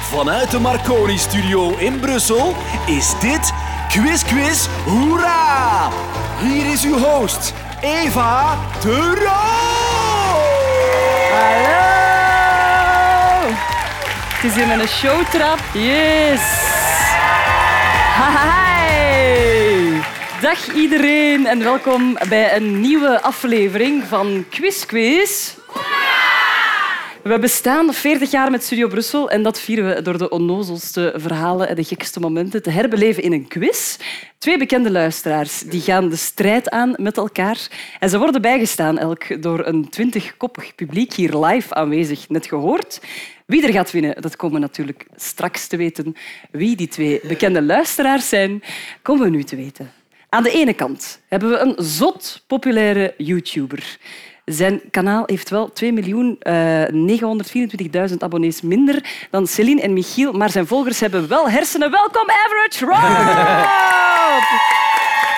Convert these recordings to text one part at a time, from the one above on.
Vanuit de Marconi Studio in Brussel is dit Quiz Quiz Hoera! Hier is uw host, Eva de Roo! Hallo! Het is hier met een showtrap. Yes! Hi! Dag iedereen en welkom bij een nieuwe aflevering van Quiz Quiz. We bestaan 40 jaar met Studio Brussel en dat vieren we door de onnozelste verhalen en de gekste momenten te herbeleven in een quiz. Twee bekende luisteraars die gaan de strijd aan met elkaar en ze worden bijgestaan elk door een twintigkoppig publiek hier live aanwezig, net gehoord. Wie er gaat winnen, dat komen we natuurlijk straks te weten. Wie die twee bekende luisteraars zijn, komen we nu te weten. Aan de ene kant hebben we een zot populaire YouTuber. Zijn kanaal heeft wel 2.924.000 abonnees minder dan Celine en Michiel, maar zijn volgers hebben wel hersenen. Welkom, Average Rob!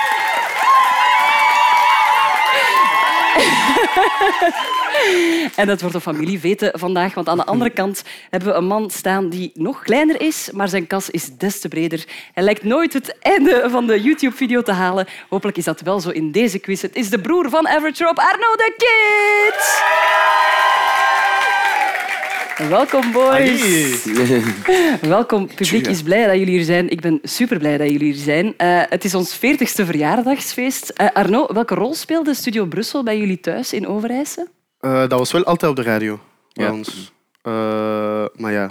En dat wordt een familieveten vandaag, want aan de andere kant hebben we een man staan die nog kleiner is, maar zijn kas is des te breder. Hij lijkt nooit het einde van de YouTube-video te halen. Hopelijk is dat wel zo in deze quiz. Het is de broer van Average Rob, Arno de Kid! Welkom, boys. Welkom. publiek is blij dat jullie hier zijn. Ik ben super blij dat jullie hier zijn. Eh, het is ons 40ste verjaardagsfeest. Eh, Arno, welke rol speelde Studio Brussel bij jullie thuis in Overijse? Eh, dat was wel altijd op de radio bij Ja. ons. Eh, maar ja,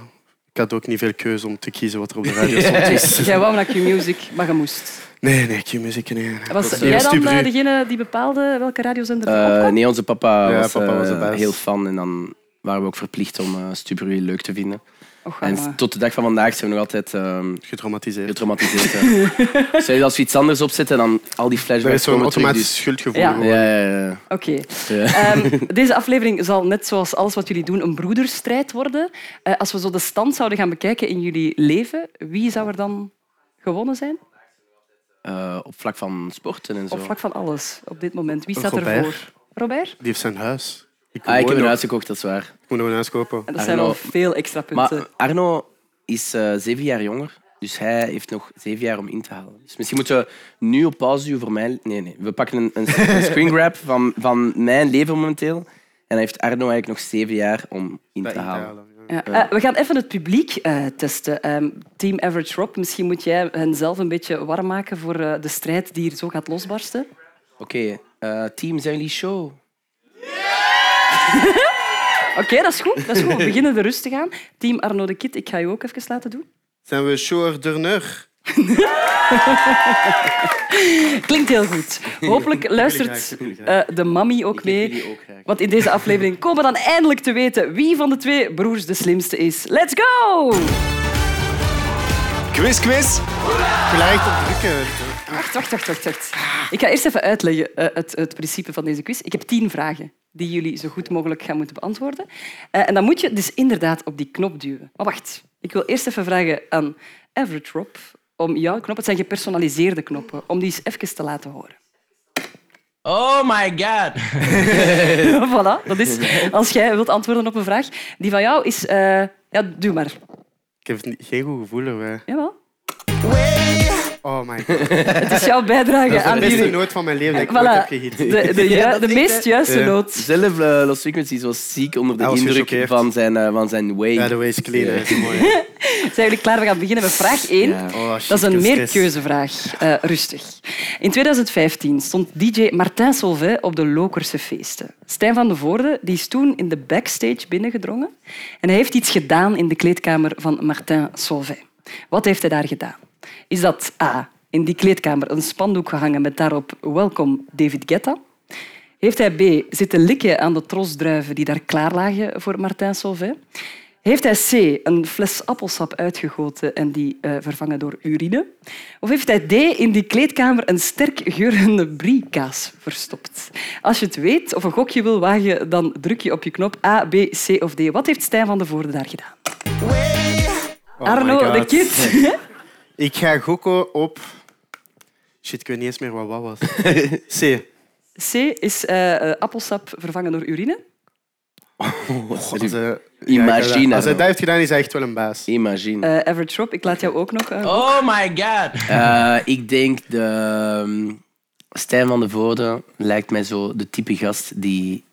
ik had ook niet veel keuze om te kiezen wat er op de radio stond. Dus jij wou naar Q-Music, maar je moest. Nee, nee, Q-Music, nee. Was Dat is jij eerst dan Tubru. eh, degene die bepaalde welke radiozender Eh, er opkwam? nee, onze papa Ja, was, papa eh, was de baas. heel fan en dan waren we ook verplicht om eh Stubberu leuk te vinden. Och, en Oh, maar. tot de dag van vandaag zijn we nog altijd eh, Getraumatiseerd. getraumatiseerd. hè. Zou je als we iets anders opzetten, dan al die Er flashbacks is zo'n komen terug. automatisch Dus... schuldgevoel. Ja. geworden. Ja, ja, ja. Oké. ja. Ehm, deze aflevering zal net zoals alles wat jullie doen een broederstrijd worden. Eh, als we zo de stand zouden gaan bekijken in jullie leven, wie zou er dan gewonnen zijn? Eh, op vlak van sporten en zo. Op vlak van alles op dit moment. Wie staat Robert. ervoor? Robert? Die heeft zijn huis. Ik, Ah, ik woon heb een nog. huis gekocht, dat is waar. Ik moet nog een huis kopen. En dat zijn Arno. al veel extra punten. Maar Arno is eh, zeven jaar jonger, dus hij heeft nog zeven jaar om in te halen. Dus misschien moeten we nu op pauze duwen voor mijn... Nee, nee. We pakken een, een, een screen grab van, van mijn leven momenteel. En hij heeft Arno eigenlijk nog zeven jaar om in Dat te in te halen. halen, ja. Ja. Eh, we gaan even het publiek eh, testen. Ehm, Team Average Rob, misschien moet jij hen zelf een beetje warm maken voor eh, de strijd die hier zo gaat losbarsten. Oké, eh, team, zijn jullie show? Oké, dat is goed. Dat is goed. We beginnen de rust te gaan. Team Arno de Kit, ik ga je ook even laten doen. Zijn we Sjoerderneur? Klinkt heel goed. Hopelijk luistert eh, de mami ook mee. jullie ook graag. Want in deze aflevering komen we dan eindelijk te weten wie van de twee broers de slimste is. Let's go! Quiz Quiz Gelijk op drukken. Wacht, wacht, wacht, wacht. wacht. Ik ga eerst even uitleggen eh, het, het principe van deze quiz. Ik heb tien vragen die jullie zo goed mogelijk gaan moeten beantwoorden. Eh, en dan moet je dus inderdaad op die knop duwen. Maar wacht, ik wil eerst even vragen aan Average Rob om jouw knop, het zijn gepersonaliseerde knoppen, om die eens even te laten horen. Oh my god! voilà, dat is als jij wilt antwoorden op een vraag. Die van jou is... eh, ja, doe maar. Ik heb ni- geen goed gevoel erbij. Jawel. Oh my god. Het is jouw bijdrage De aan beste die... noot van mijn leven dat ik ooit heb Ah, Voilà, gehit. de, de, ju- Ja, dat de ik, meest hè. juiste Ja. noot. Zelf, eh Los Frequencies was ziek onder de Hij was indruk gechoqueerd. van zijn, eh, van zijn way. Ja, de way is clean. hè. Dat is mooi. Zijn jullie klaar? We gaan beginnen met vraag 1. Ja. Oh, shit, Dat is ik een heb stress. meerkeuzevraag. Eh, rustig. In 2015 stond DJ Martin Solvay op de Lokerse feesten. Stijn van de Voorde die is toen in de backstage binnengedrongen en hij heeft iets gedaan in de kleedkamer van Martin Solvay. Wat heeft hij daar gedaan? Is dat A. In die kleedkamer een spandoek gehangen met daarop Welkom David Guetta? Heeft hij B. zitten likken aan de trosdruiven die daar klaar lagen voor Martin Solvay? Heeft hij C. een fles appelsap uitgegoten en die eh, vervangen door urine? Of heeft hij D. in die kleedkamer een sterk geurende briekaas verstopt? Als je het weet of een gokje wil wagen, dan druk je op je knop A, B, C of D. Wat heeft Stijn van de Voorde daar gedaan? Oh my Arno, de God. kid. Ik ga gokken op... Shit, ik weet niet eens meer wat wat was. C. C is eh, eh, appelsap vervangen door urine. Als hij- Imagine Als hij nou. dat heeft gedaan, is hij echt wel een baas. Imagine. Eh Average Rob, ik laat jou ook nog... eh, oh my god. Eh, ik denk de... ehm, Stijn van de Voorde lijkt mij zo de type gast die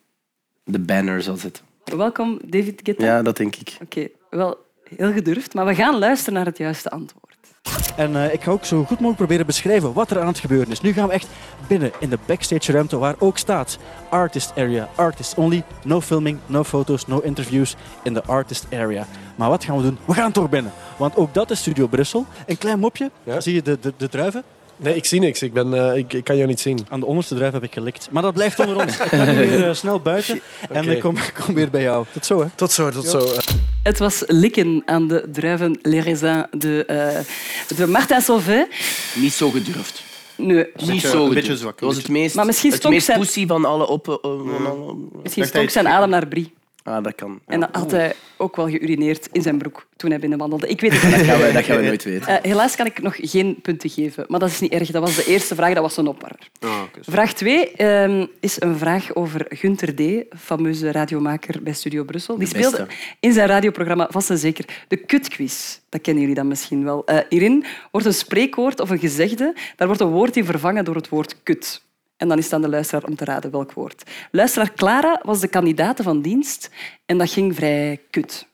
de banner zal zetten. Welkom, David Guetta. Ja, dat denk ik. Oké, wel heel gedurfd, maar we gaan luisteren naar het juiste antwoord. En eh, ik ga ook zo goed mogelijk proberen beschrijven wat er aan het gebeuren is. Nu gaan we echt binnen in de backstage ruimte waar ook staat artist area, artist only. No filming, no foto's, no interviews in de artist area. Maar wat gaan we doen? We gaan toch binnen. Want ook dat is Studio Brussel. Een klein mopje. Ja. Zie je de, de, de druiven? Nee, ik zie niks. Ik, ben, eh, ik, ik kan jou niet zien. Aan de onderste druif heb ik gelikt. Maar dat blijft onder ons. Ik ga nu weer eh, snel buiten. En Oké. ik kom, kom weer bij jou. Tot zo hè. Tot zo, tot zo. Het was likken aan de druiven Les Raisins de, eh de Martin Sauvé. Niet zo gedurfd. Nee, Niet Beetje- zo een gedurfd. beetje zwak, Dat was het meest, Maar misschien het stonk meest zijn- pussy van alle op... eh, van alle- misschien Dacht hij stonk zijn adem naar Brie. Ah, dat kan. En dan had hij ook wel geurineerd in zijn broek toen hij binnenwandelde. Ik weet het niet. Dat gaan, we, dat gaan we nooit weten. Eh, helaas kan ik nog geen punten geven, maar dat is niet erg. Dat was de eerste vraag, dat was een opwarmer. Ah, oké. Vraag 2 is een vraag over Gunther D., fameuze radiomaker bij Studio Brussel. Die De beste. speelde in zijn radioprogramma vast en zeker de kutquiz. Dat kennen jullie dan misschien wel. Eh, hierin wordt een spreekwoord of een gezegde, daar wordt een woord in vervangen door het woord kut. En dan is het aan de luisteraar om te raden welk woord. Luisteraar Clara was de kandidaat van dienst en dat ging vrij kut.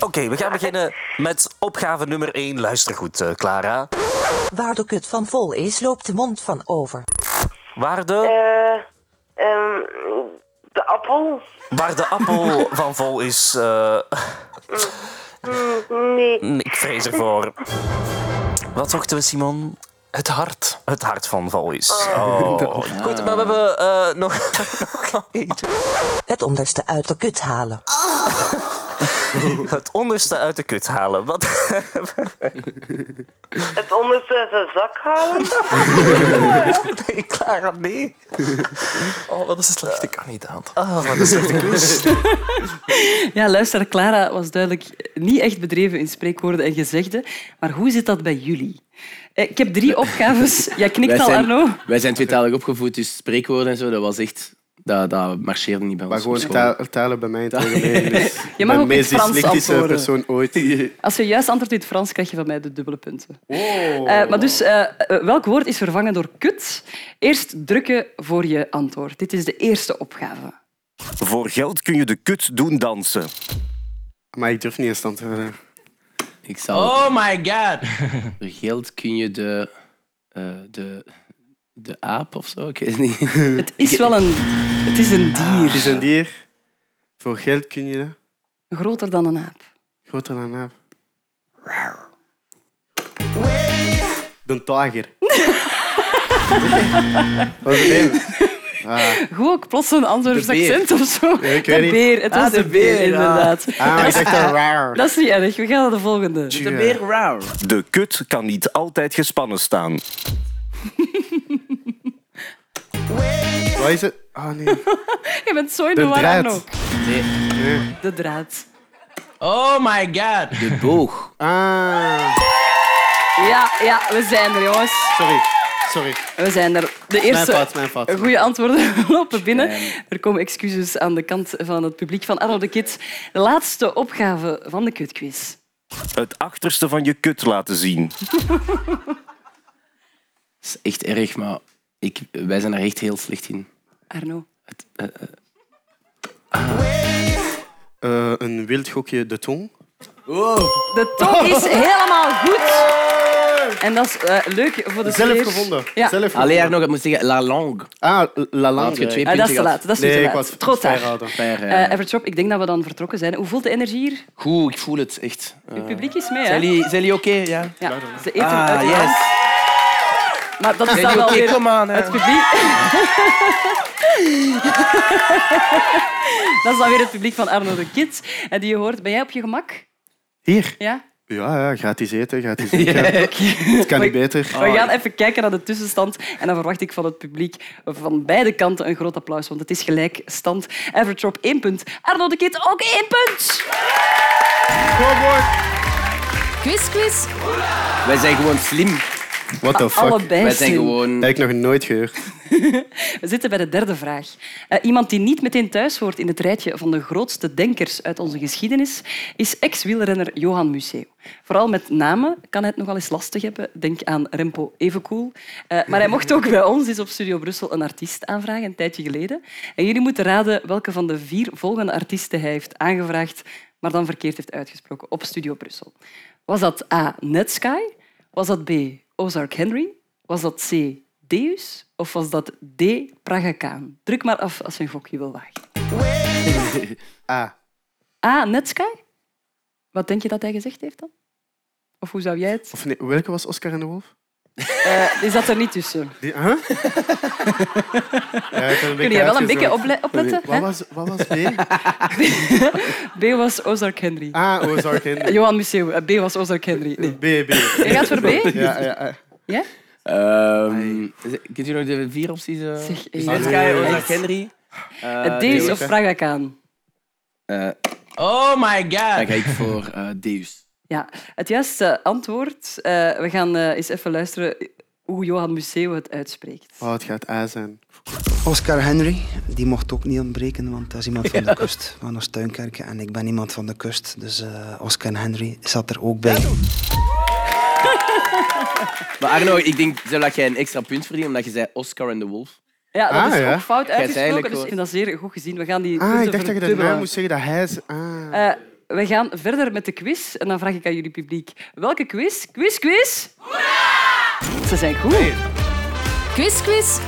Oké, we gaan beginnen met opgave nummer 1. Luister goed, eh, Clara. Waar de kut van vol is, loopt de mond van over. Waar de, Eh, Ehm, de appel? waar de appel van vol is. eh, Nee. ik vrees ervoor. Wat zochten we, Simon? Het hart. Het hart van vol is. Oh. Goed, maar we hebben eh, nog, nog eentje. Het onderste uit de kut halen. Het onderste uit de kut halen. Wat? Het onderste uit de zak halen? Nee, Clara, nee. Oh, wat een slechte kandidaat. Oh, wat een slechte quiz. Ja, luister, Clara was duidelijk niet echt bedreven in spreekwoorden en gezegden. Maar hoe zit dat bij jullie? Eh, Ik heb drie opgaves. Jij knikt al, Arno. zijn, wij zijn tweetalig opgevoed, dus spreekwoorden en zo, dat was echt... Dat, dat marcheerde niet bij Maar ons. gewoon op school. taal- talen bij mij in het algemeen. is Je mag de ook in meest het Frans dyslectische antwoorden. persoon ooit. Als je juist antwoordt in het Frans, krijg je van mij de dubbele punten. Oh. Eh, maar dus, eh, eh, welk woord is vervangen door kut? Eerst drukken voor je antwoord. Dit is de eerste opgave. Voor geld kun je de kut doen dansen. Maar ik durf niet eens stand te worden. Ik zal... Oh my god! Door geld kun je de... eh, de... De aap of zo? Ik weet het niet. Het is wel een... Het is een Ah. Het is dier. een dier. Voor geld kun je dat. Groter dan een aap. Groter dan een aap. De tager. Wat is het ding? Gewoon ook plots een Antwerps De beer. accent of zo. ik weet de niet. beer. Het was Ah, de de beer, beer, ja. inderdaad. Ah, ik dacht dat raar. Dat is niet erg. We gaan naar de volgende. De beer rauw. De kut kan niet altijd gespannen staan. Wat is het? Ah, nee. Je bent zo in de, De war, draad. Arno. De draad. Oh my god! De boog. Ah, Ja, ja, we zijn er, jongens. sorry. Sorry. We zijn er. De Mijn eerste fout, mijn fout. goede antwoorden lopen binnen. Ehm. Er komen excuses aan de kant van het publiek van Arno de Kid. De laatste opgave van de kutquiz. Het achterste van je kut laten zien. Dat is echt erg, maar ik, wij zijn daar echt heel slecht in. Arno. Eh, een wild gokje de tong. De tong is helemaal goed. En dat is eh, leuk voor de Zelf sfeer. gevonden. Ja. Eh, Zelf gevonden. Alleen nog, ik moet zeggen, la langue. Ah, la Had je langue. twee Ah, dat is te punten gehad. laat. Dat is nu Nee, te ik laat. was Trop tard. vrijraden. Per, eh, Eh, Average Rob, ik denk dat we dan vertrokken zijn. Hoe voelt de energie hier? Goed, ik voel het echt. Eh, Het publiek is mee, hè? zijn jullie- zijn jullie oké? Ja. Ja, ze eten uit Ah, de hand. yes. Maar dat is Zijn dan wel jullie weer oké? Kom aan. het publiek. dat is dan weer het publiek van Arno de Kid. En die je hoort, ben jij op je gemak? Hier. Ja? Ja, ja, gratis eten, gratis eten. Het kan niet beter. We gaan even kijken naar de tussenstand. En dan verwacht ik van het publiek van beide kanten een groot applaus, want het is gelijk stand. Average Rob, één punt. Arno de Kid, ook één punt. Quiz, quiz. Wij zijn gewoon slim. What the Maar fuck? allebei Wij zijn zin. gewoon- Heb ik nog nooit gehoord. We zitten bij de derde vraag. Eh, iemand die niet meteen thuis hoort in het rijtje van de grootste denkers uit onze geschiedenis is ex-wielrenner Johan Museeuw. Vooral met namen kan hij het nogal eens lastig hebben. Denk aan Rempo Evenkoel. Eh, maar hij mocht ook bij ons eens op Studio Brussel een artiest aanvragen, een tijdje geleden. En jullie moeten raden welke van de vier volgende artiesten hij heeft aangevraagd, maar dan verkeerd heeft uitgesproken op Studio Brussel. Was dat A. Netsky? Was dat B. Ozark Henry? Was dat C. Deus? Of was dat D. Pragakaan? Druk maar af als je een gokje wil wagen. Ah, A. Netsky? Wat denk je dat hij gezegd heeft dan? Of hoe zou jij het... of nee, welke was Oscar en de Wolf? Eh, die zat er niet tussen. Die, huh? Ja, ik heb een Kun je wel een beetje uitgezocht. ople- opletten? Wat was, wat was B? B was Ozark Henry. Ah, Ozark Henry. Johan Museeuw. eh, B was Ozark Henry. Nee. B, B. Je gaat voor B? Ja, ja, ja. Ja? Ehm, kunt u nog de vier opties? eh? Zeg, Dus ja. Netsky, Echt? Ozark Henry. eh, Deus of Deus. Pragakaan? Eh, oh my god! Dan ga ik voor eh, Deus. Ja, het juiste antwoord. eh, we gaan eh, eens even luisteren hoe Johan Museeuw het uitspreekt. Oh, het gaat A zijn. Oscar Henry, die mocht ook niet ontbreken, want dat is iemand van de kust, van ons tuinkerken. En ik ben iemand van de kust, dus eh, Oscar Henry zat er ook bij. Maar Arno, ik denk dat jij een extra punt verdient omdat je zei Oscar en de Wolf. Ja, dat Ah, is ja. ook fout Jij zei uitgesproken, eigenlijk dus ik vind gewoon- dat zeer goed gezien. We gaan die Ah, punten ik dacht dat je de verdubbelen. naam moest zeggen dat hij... is- Ah. Eh, we gaan verder met de quiz en dan vraag ik aan jullie publiek. Welke quiz? Quiz, quiz! Ze zijn goed. Quiz, quiz!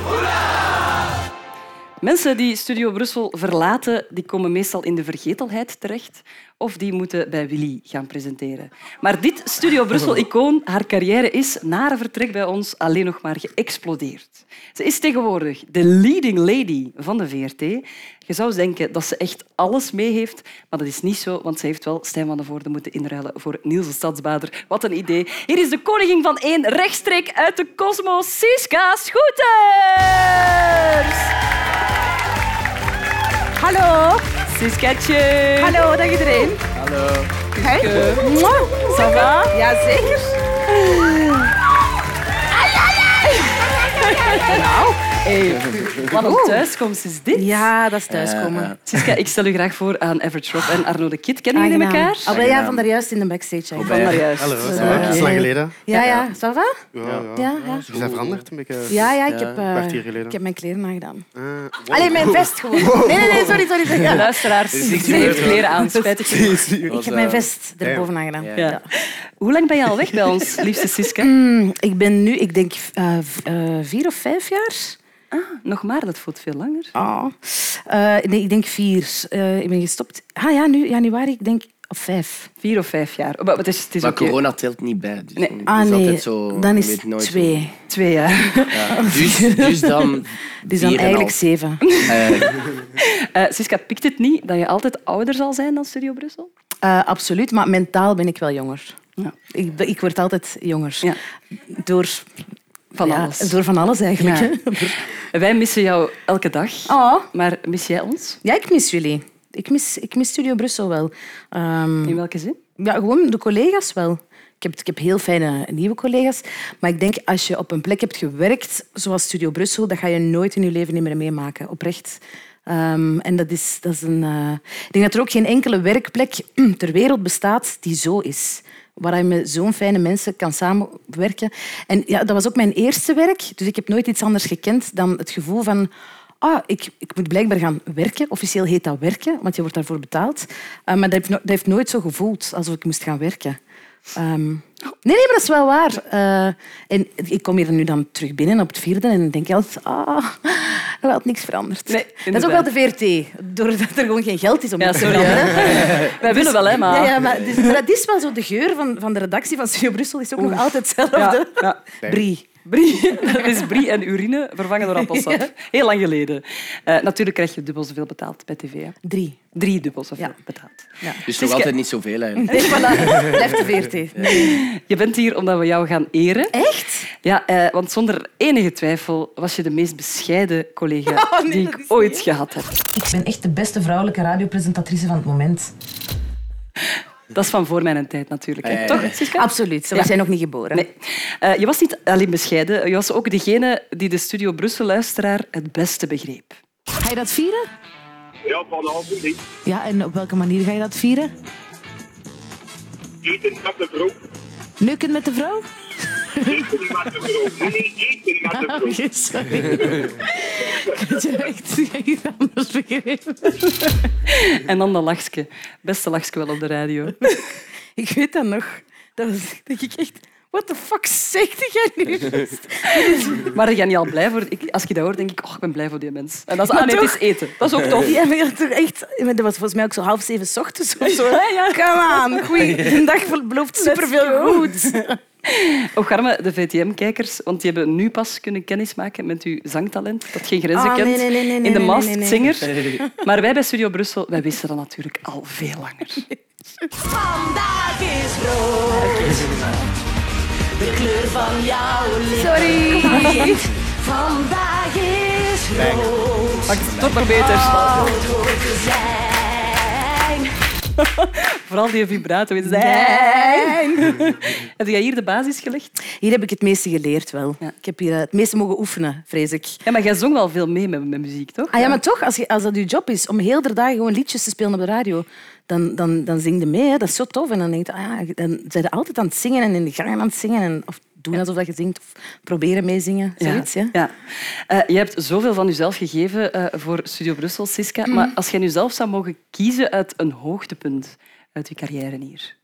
Mensen die Studio Brussel verlaten, die komen meestal in de vergetelheid terecht of die moeten bij Willy gaan presenteren. Maar dit Studio Brussel-icoon, haar carrière is na haar vertrek bij ons alleen nog maar geëxplodeerd. Ze is tegenwoordig de leading lady van de VRT. Je zou denken dat ze echt alles mee heeft, maar dat is niet zo, want ze heeft wel Stijn van de Voorde moeten inruilen voor Niels de Stadsbader. Wat een idee. Hier is de koningin van één, rechtstreek uit de kosmos, Siska Schoeters! Hallo. Siskatje. Hallo, dag iedereen. Hallo. Hey. Mwah. Ça va? Jazeker. Nou, hey, wat een thuiskomst is dit? Ja, dat is thuiskomen. Eh, Siska, ik stel u graag voor aan Average Rob en Arno de Kid. Kennen jullie Aangenaam. elkaar? Ah, wel, ja, van daar juist in de backstage. eigenlijk. Van daar juist. Hallo, ja, dat is lang geleden. Ja, ja. Ça va? Ja, ja. Ja, ja. Ze zijn veranderd een beetje. Ja, ja, ik heb, Een eh, kwartier geleden. ik heb mijn kleren aangedaan. Eh, Ah, wow. Alleen mijn vest gewoon. Wow. Nee, nee, nee, sorry, sorry. sorry. Ja. Luisteraars, Dit is niet ze heeft gebeurd, kleren hè? aan. Spijtig genoeg. Ik heb eh, mijn vest erboven aangedaan. Ja. Ja. Hoe lang ben je al weg bij ons, liefste Siska? Mm, ik ben nu, ik denk, eh, v- eh, vier of vijf jaar. Ah, nog maar, dat voelt veel langer. Ah. Eh, nee, ik denk vier. Eh, ik ben gestopt. Ah ja, nu januari, ik denk of vijf. Vier of vijf jaar. Maar het is, het is Maar oké. corona telt niet bij. Dus Nee. het Ah is nee, altijd zo, dan je is weet nooit hoe- twee. Twee jaar. Ja, Dus, dus dan... Dus dan vier en eigenlijk half. zeven. Eh, Eh, Siska, pikt het niet dat je altijd ouder zal zijn dan Studio Brussel? Eh, absoluut, maar mentaal ben ik wel jonger. Ja. Ik, ik word altijd jonger. Door Van ja, alles. Door van alles eigenlijk. Ja. hè. Wij missen jou elke dag. Oh. Maar mis jij ons? Ja, ik mis jullie. Ik mis, ik mis Studio Brussel wel. Ehm, In welke zin? ja, gewoon de collega's wel. Ik heb, ik heb heel fijne nieuwe collega's. Maar ik denk, als je op een plek hebt gewerkt, zoals Studio Brussel, dat ga je nooit in je leven niet meer meemaken, oprecht. Ehm, en dat is, dat is een... eh, Ik denk dat er ook geen enkele werkplek ter wereld bestaat die zo is. Waar je met zo'n fijne mensen kan samenwerken. En ja, dat was ook mijn eerste werk. Dus ik heb nooit iets anders gekend dan het gevoel van... Ah, ik, ik moet blijkbaar gaan werken. Officieel heet dat werken, want je wordt daarvoor betaald. Eh, maar dat heeft, no- dat heeft nooit zo gevoeld alsof ik moest gaan werken. Ehm, nee, nee, maar dat is wel waar. Eh, en ik kom hier nu dan terug binnen op het vierde en dan denk je altijd... Ah, er had niks veranderd. dat is ook wel inderdaad. de VRT. Doordat er gewoon geen geld is om Ja, iets te sorry, hè. veranderen. Wij Dus- willen wel, hè, maar- Ja, ja, maar, dus, maar dat is wel zo. De geur van, van de redactie van Studio Brussel is ook nog altijd hetzelfde. Ja, ja. Brie. Brie. Dat is brie en urine vervangen door appelsap. Ja. Heel lang geleden. Eh, natuurlijk krijg je dubbel zoveel betaald bij tv. Hè? Drie. Drie dubbel zoveel betaald. dus nog altijd niet zoveel eigenlijk. Nee, voilà. Blijft de VRT. Je bent hier omdat we jou gaan eren. Echt? Ja, eh, want zonder enige twijfel was je de meest bescheiden collega Oh, nee, die dat ik is ooit gehad heb. Ik ben echt de beste vrouwelijke radiopresentatrice van het moment. Dat is van voor mijn tijd natuurlijk. Ja, Hè. ja, Toch, ja. Siska? Absoluut, zo was jij nog niet geboren. Nee. Eh, je was niet alleen bescheiden, je was ook degene die de Studio Brussel-luisteraar het beste begreep. Ga je dat vieren? Ja, vanavond niet. Ja, en op welke manier ga je dat vieren? Eten met de vrouw. Neuken met de vrouw? Eten met de vrouw. Nee, eten met de vrouw. Oké, Oh, sorry. Ik had je echt iets anders begrepen. En dan dat lachje. Beste lachje wel op de radio. Ik weet dat nog. Dat was, dat ik echt... What the fuck zegt jij nu? Maar ik ben niet al blij voor. Ik, als je dat hoort, denk ik, oh, ik ben blij voor die mens. En dat is, ah, Maar nee, het toch- is eten. Dat is ook tof. Eh, Ja, maar ja, toch echt, maar dat was volgens mij ook zo half zeven 's ochtends of zo. Ja, ja. Come on, goeie. De dag belooft superveel goed. Ogarme, Oh, de VTM-kijkers, want die hebben nu pas kunnen kennismaken met uw zangtalent, dat geen grenzen Ah, nee, kent, nee, nee, nee, in de nee, Masked nee, nee. Singer. Nee. Maar wij bij Studio Brussel, wij wisten dat natuurlijk al veel langer. Vandaag is rood. De kleur van jouw lippen. Sorry. Vandaag is rood. Pak het toch maar beter. Rood hoort te zijn. Vooral die vibrato in zijn. Zijn. Heb jij hier de basis gelegd? Hier heb ik het meeste geleerd wel. Ik heb hier eh, het meeste mogen oefenen, vrees ik. Ja, maar jij zong wel veel mee met, met muziek, toch? Ah ja, maar toch, als, je, als dat je job is, om heel de dag gewoon liedjes te spelen op de radio, dan, dan, dan zing je mee. Hè. Dat is zo tof. En dan denk je, ah, ja, dan zijn je altijd aan het zingen en in de gang aan het zingen. En, of doen alsof dat je zingt, of proberen meezingen. Zoiets, ja. ja. Eh, je hebt zoveel van jezelf gegeven eh, voor Studio Brussel, Siska. Mhm. Maar als jij nu zelf zou mogen kiezen uit een hoogtepunt uit je carrière hier.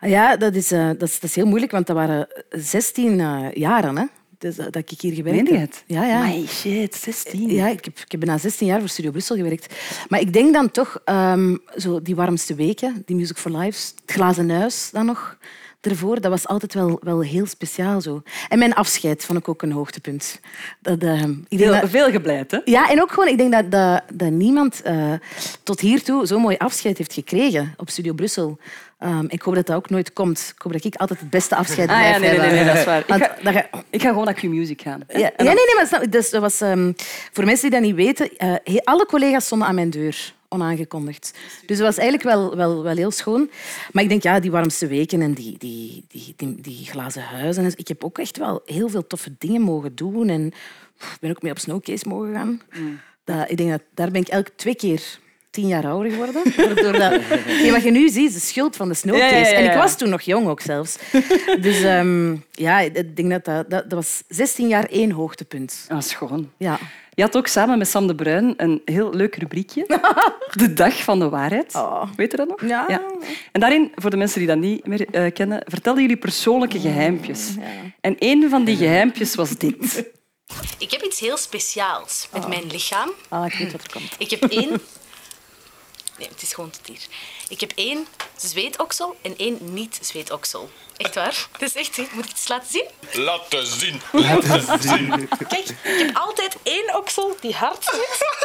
Ja, dat is, eh, dat, is, dat is heel moeilijk, want dat waren 16 eh, jaren hè, dus, eh, dat ik hier gewerkt Meen je heb. het? Ja, ja. My shit, 16. Ja, ik heb, ik heb bijna 16 jaar voor Studio Brussel gewerkt. Maar ik denk dan toch ehm, zo die warmste weken, die Music for Lives, het glazen huis dan nog ervoor. Dat was altijd wel, wel heel speciaal zo. En mijn afscheid vond ik ook een hoogtepunt. Dat, ehm, ik denk Veel, dat- veel geblijd, hè? ja, en ook gewoon, ik denk dat, dat, dat niemand eh, tot hiertoe zo'n mooi afscheid heeft gekregen op Studio Brussel. Ehm, ik hoop dat dat ook nooit komt. Ik hoop dat ik altijd het beste afscheid Ah, blijf ja, nee, nee, hebben. nee, nee, dat is waar. Want Ik ga, ik ga gewoon naar Q-Music gaan. hè. ja, En ja, dan- nee, nee, maar snap- dus, dat was, ehm, voor mensen die dat niet weten, eh, he- alle collega's stonden aan mijn deur, onaangekondigd. Dus dat was eigenlijk wel, wel, wel heel schoon. Maar ik denk, ja, die warmste weken en die, die, die, die, die glazen huizen. en zo, Ik heb ook echt wel heel veel toffe dingen mogen doen. En pff, ik ben ook mee op snowcase mogen gaan. Mm. Dat, ik denk dat daar ben ik elk twee keer tien jaar ouder geworden. Waardoor dat, Hetgeen wat je nu ziet is de schuld van de snowcase. Ja, ja, ja, En ik ja. was toen nog jong ook zelfs. Dus ehm, ja, ik denk dat dat, dat dat was 16 jaar één hoogtepunt. Dat is gewoon. Ja. Je had ook samen met Sam de Bruin een heel leuk rubriekje. De dag van de waarheid. Weet je dat nog? Oh. Ja. En daarin, voor de mensen die dat niet meer eh, kennen, vertelden jullie persoonlijke Mm, geheimpjes. En een van die geheimpjes was dit. Ik heb iets heel speciaals met mijn lichaam. Oh. Ah, ik weet wat er komt. Ik heb één... Nee, het is gewoon te dier. Ik heb één zweetoksel en één niet-zweetoksel. Echt waar? Dat is echt... Moet ik het eens laten zien? Laten zien. Laten zien. Kijk, ik heb altijd één oksel die hard zit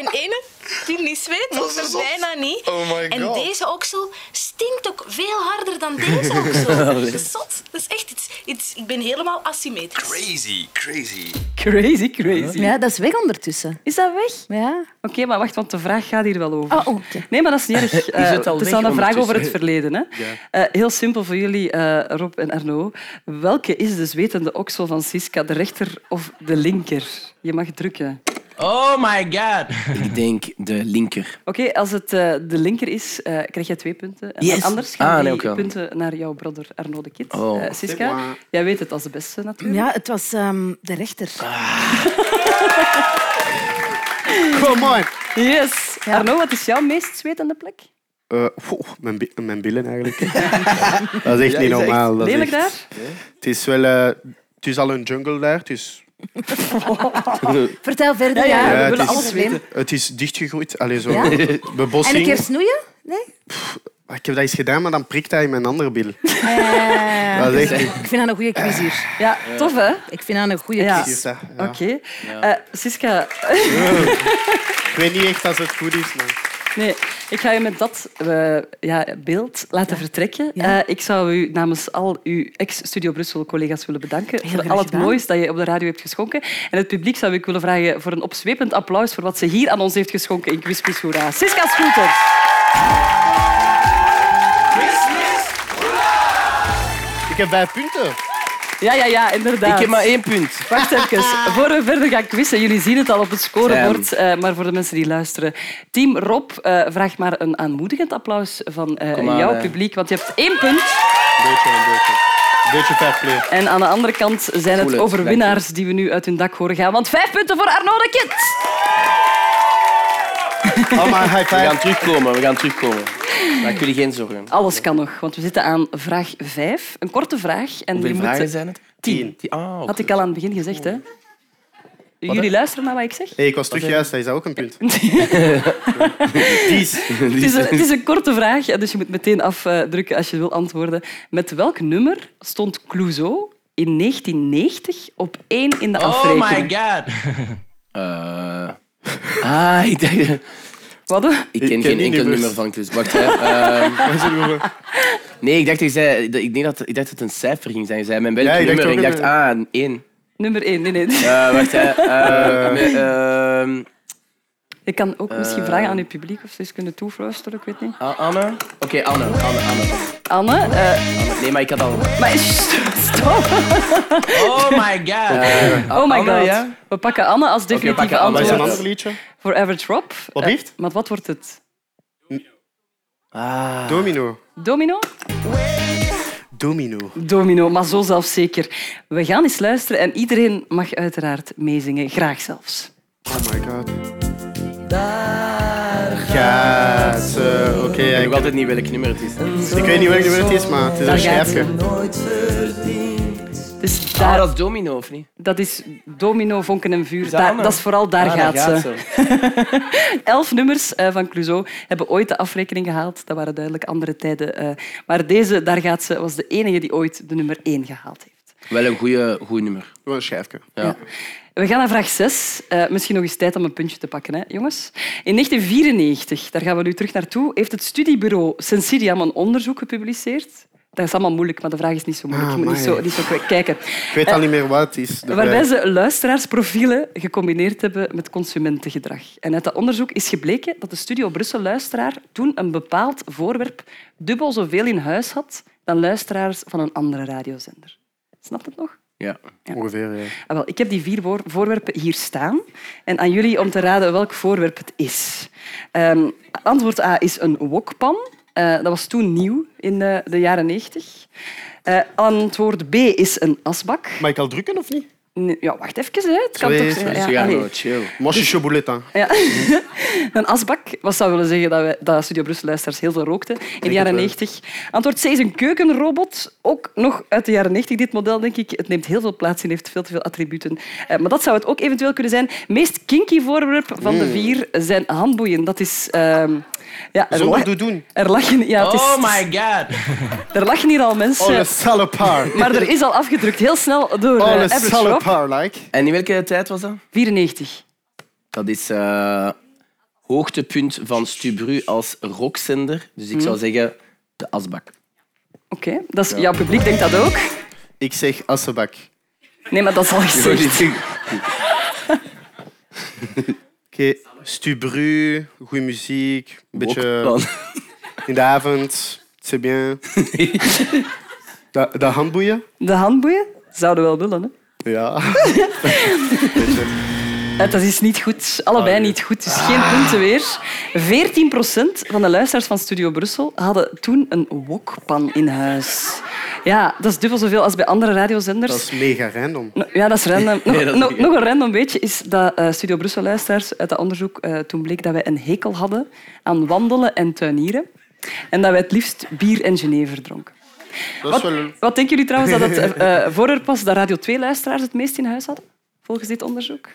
en één die niet zweet, Dat of is er zot. bijna niet. Oh my En God. deze oksel stinkt ook veel harder dan deze oksel. Dat is zot. Dat is echt iets... iets ik ben helemaal asymmetrisch. Crazy, crazy. Crazy, crazy. Ja, dat is weg ondertussen. Is dat weg? Ja. Oké, maar wacht, want de vraag gaat hier wel over. Oh, Nee, maar dat is niet erg. Is Eh, het al is weg dan een vraag over het ondertussen? verleden. Hè? Eh, heel simpel voor jullie, eh, Rob en Arno. Welke is de zwetende oksel van Siska, de rechter of de linker? Je mag drukken. Oh my god. Ik denk de linker. Oké, als het eh, de linker is, eh, krijg je twee punten. En Yes. Anders gaan Ah, nee, die ook wel. punten naar jouw brother Arno de Kid. Oh. Eh, Siska, jij weet het als de beste natuurlijk. Ja, het was ehm, de rechter. Ah. Kom maar. Yes. Arno, wat is jouw meest zwetende plek? Eh, oeh, mijn, bi- mijn billen eigenlijk. dat is echt Ja, niet is echt normaal. Dat is lelijk echt- daar? Het is wel... eh, het is al een jungle daar, dus... Vertel verder. Ja, we het, willen is, alles weten. het is dichtgegroeid. Allee, zo. Ja? En Bebossing. een keer snoeien? Nee? Ah, Ik heb dat eens gedaan, maar dan prikt hij in mijn andere bil. Eh, Dat is echt- ik vind dat een goede quiz hier. Ja, tof hè? Ik vind dat een goede Ja. quiz. Oké. Eh, Siska, Ik weet niet echt als het goed is, maar... nee, ik ga je met dat eh, ja, beeld laten vertrekken. Eh, ik zou u namens al uw ex-Studio Brussel-collega's willen bedanken voor graag al het gedaan. moois dat je op de radio hebt geschonken. En het publiek zou ik willen vragen voor een opzwepend applaus voor wat ze hier aan ons heeft geschonken in Quiz Quiz Hoera. Siska Schoelter. Ik heb vijf punten. Ja, ja, ja, inderdaad. Ik heb maar één punt. Wacht even. Voor we verder gaan quizzen, jullie zien het al op het scorebord, eh, maar voor de mensen die luisteren. Team Rob, eh, vraag maar een aanmoedigend applaus van eh, Kom aan, jouw hè. publiek, want je hebt één punt. Beetje, een beetje. Een beetje fair play. En aan de andere kant zijn Voel het het, overwinnaars die we nu uit hun dak horen gaan. Want vijf punten voor Arno de Kit. maar We gaan terugkomen, we gaan terugkomen. Maak jullie geen zorgen. Alles kan nog, want we zitten aan vraag vijf. Een korte vraag. En Hoeveel je moet- vragen zijn Oh, het? Tien. Had ik al aan het begin gezegd, hè? Jullie luisteren naar wat ik zeg? Hey, ik was terug Wat, eh, juist, dat is ook een punt. Het is, een, Ah. het is een korte vraag, dus je moet meteen afdrukken als je wil antwoorden. Met welk nummer stond Clouseau in 1990 op één in de afrekening? god. ah, ik denk... Wat? hè? Ik ken geen enkel nummer van Chris. Wacht, hè. Ehm, nee, ik dacht, dat je zei, dat- ik, denk dat, ik dacht dat het een cijfer ging zijn. Je zei, mijn welk Ja, ik dacht nummer? ook Ik dacht, een- ah, een één. Nummer één, nee, nee. Eh, wacht, hè. Eh, Eh. met, ehm, Ik kan ook misschien Eh. vragen aan uw publiek of ze eens kunnen toefluisteren, ik weet niet. Ah, Anne? Oké, Anne. Anne, Anne. Anne? eh, Anne. Nee, maar ik had al... maar st- stop! Oh my god. Eh, oh my god. Anne, ja? We pakken Anne als definitieve pakken Anne. Wat antwoord. is een ander liedje? Voor Average Rob. Wat Eh, heeft? maar wat wordt het? Domino. Domino? Domino. Domino, maar zo zelfzeker. We gaan eens luisteren en iedereen mag uiteraard meezingen. Graag zelfs. Oh my god. Gaat ze. Oké, Ik weet ik, nog altijd niet welk nummer het is. ik weet niet welk nummer het is, maar het is Daar een gaat schijfje. Dus Ah, daar, dat is Domino, of niet? dat is Domino, Vonken en Vuur. dat Daar- Anne? dat is vooral daar Ah, gaat, daar gaat ze. Elf nummers eh, van Clouseau hebben ooit de afrekening gehaald. Dat waren duidelijk andere tijden. eh. Maar deze, daar gaat ze, was de enige die ooit de nummer één gehaald heeft. Wel een goede nummer. Wel een schijfje. Ja. We gaan naar vraag 6. misschien nog eens tijd om een puntje te pakken, hè, jongens. In 1994, daar gaan we nu terug naartoe, heeft het studiebureau Sensiriam een onderzoek gepubliceerd. Dat is allemaal moeilijk, maar de vraag is niet zo moeilijk. Ah, Je moet niet amai. zo, niet zo k- kijken. Eh, Ik weet al niet meer wat het is. de Waarbij vraag. ze luisteraarsprofielen gecombineerd hebben met consumentengedrag. En uit dat onderzoek is gebleken dat de Studio Brussel luisteraar toen een bepaald voorwerp dubbel zoveel in huis had dan luisteraars van een andere radiozender. Snapt het nog? Ja. Ongeveer, ja. Ah, wel, ik heb die vier voor- voorwerpen hier staan. En aan jullie om te raden welk voorwerp het is. Ehm, antwoord A is een wokpan. Eh, dat was toen nieuw in eh, de jaren 90. Eh, antwoord B is een asbak. Mag ik al drukken of niet? Nee, Ja, wacht even. Hè. Het kan Twee, toch twee, ja, twee. allee. chill. Mosje Dus- chobolet, hè. Ja. een asbak. Wat zou willen zeggen dat, wij, dat Studio Brussel-luisteraars heel veel rookten in de het jaren wel. 90. Antwoord C is een keukenrobot. Ook nog uit de jaren 90, dit model, denk ik. Het neemt heel veel plaats in, heeft veel te veel attributen. Eh, maar dat zou het ook eventueel kunnen zijn. meest kinky voorwerp van de Mm. vier zijn handboeien. Dat is... ehm, ja, er Zonder lag- doedoen. Er lachen, ja, het is, Oh my god. er lachen hier al Oh, mensen. een salle paar. maar er is al afgedrukt, heel snel, door Oh, eh, een Average salle Rob. paar, like. En in welke tijd was dat? 94. Dat is eh, hoogtepunt van Stubru als rockzender. Dus ik Hmm. zou zeggen de asbak. Oké, dat is jouw publiek denkt dat ook. Ik zeg assenbak. Nee, maar dat is al gezegd. Oké, Stubru, goede muziek, een beetje Wokpan. in de avond, c'est bien. De, de handboeien? De handboeien zouden wel willen. Hè? Ja. Eh, Dat is niet goed. Ah, Allebei niet goed. Dus geen punten weer. 14 van de luisteraars van Studio Brussel hadden toen een wokpan in huis. Ja, dat is dubbel zoveel als bij andere radiozenders. Dat is mega random. No- Ja, dat is random. Nog, Nee, dat is nog, niet- nog een random beetje is dat eh, Studio Brussel-luisteraars uit dat onderzoek eh, toen bleek dat wij een hekel hadden aan wandelen en tuinieren. En dat wij het liefst bier en Genever dronken. Dat is Wat, wel- wat denken jullie trouwens dat het eh voorwerp was dat Radio 2-luisteraars het meest in huis hadden? Volgens dit onderzoek?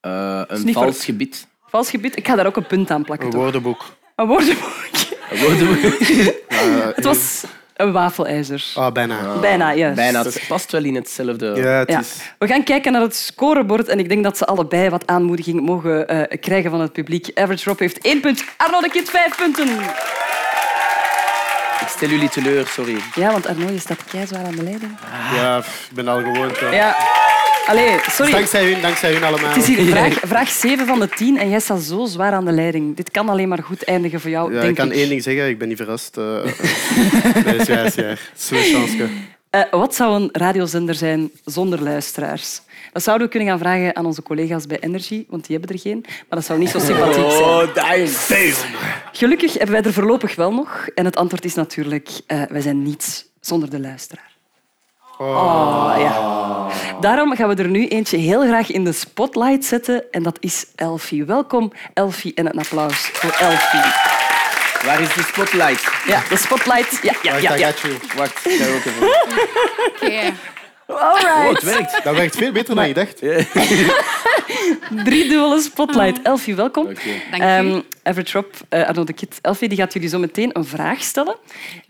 Eh, een niet voor- vals gebied. Vals gebied. Ik ga daar ook een punt aan plakken. Een toch? woordenboek. Een woordenboekje. Het was een wafelijzer. Ah, bijna. Bijna, juist. Bijna. Het past wel in hetzelfde. Ja. We gaan kijken naar het scorebord en ik denk dat ze allebei wat aanmoediging mogen eh, krijgen van het publiek. Average Rob heeft één punt, Arno de Kid vijf punten. Ik stel jullie teleur, sorry. Ja, want Arno, je staat keizwaar aan de leiding. Ja, pff, ik ben al gewoond. Ja. Ja. Allee, Dus sorry. dankzij hun, dankzij hun allemaal. Het is hier vraag, vraag 7 van de 10 en jij staat zo zwaar aan de leiding. Dit kan alleen maar goed eindigen voor jou, Ja, denk ik kan ik. één ding zeggen, ik ben niet verrast. eh, eh, nee, is juist, ja. Zo'n chansje. Eh, wat zou een radiozender zijn zonder luisteraars? Dat zouden we kunnen gaan vragen aan onze collega's bij Energy, want die hebben er geen. Maar dat zou niet zo sympathiek zijn. Gelukkig hebben wij er voorlopig wel nog. En het antwoord is natuurlijk, eh, wij zijn niets zonder de luisteraar. Oh, ja. Daarom gaan we er nu eentje heel graag in de spotlight zetten. En dat is Elfie. Welkom, Elfie, en een applaus voor Elfie. Waar is de spotlight? Ja, de spotlight. Ja, ja, ja. ja. Wacht, ik ga er ook even. All right. Oh, het werkt. Dat werkt veel beter dan je dacht. Drie dubbele spotlight. Elfie, welkom. Dank u. Ehm, Average Rob, eh, Arno de Kid. Elfie die gaat jullie zo meteen een vraag stellen.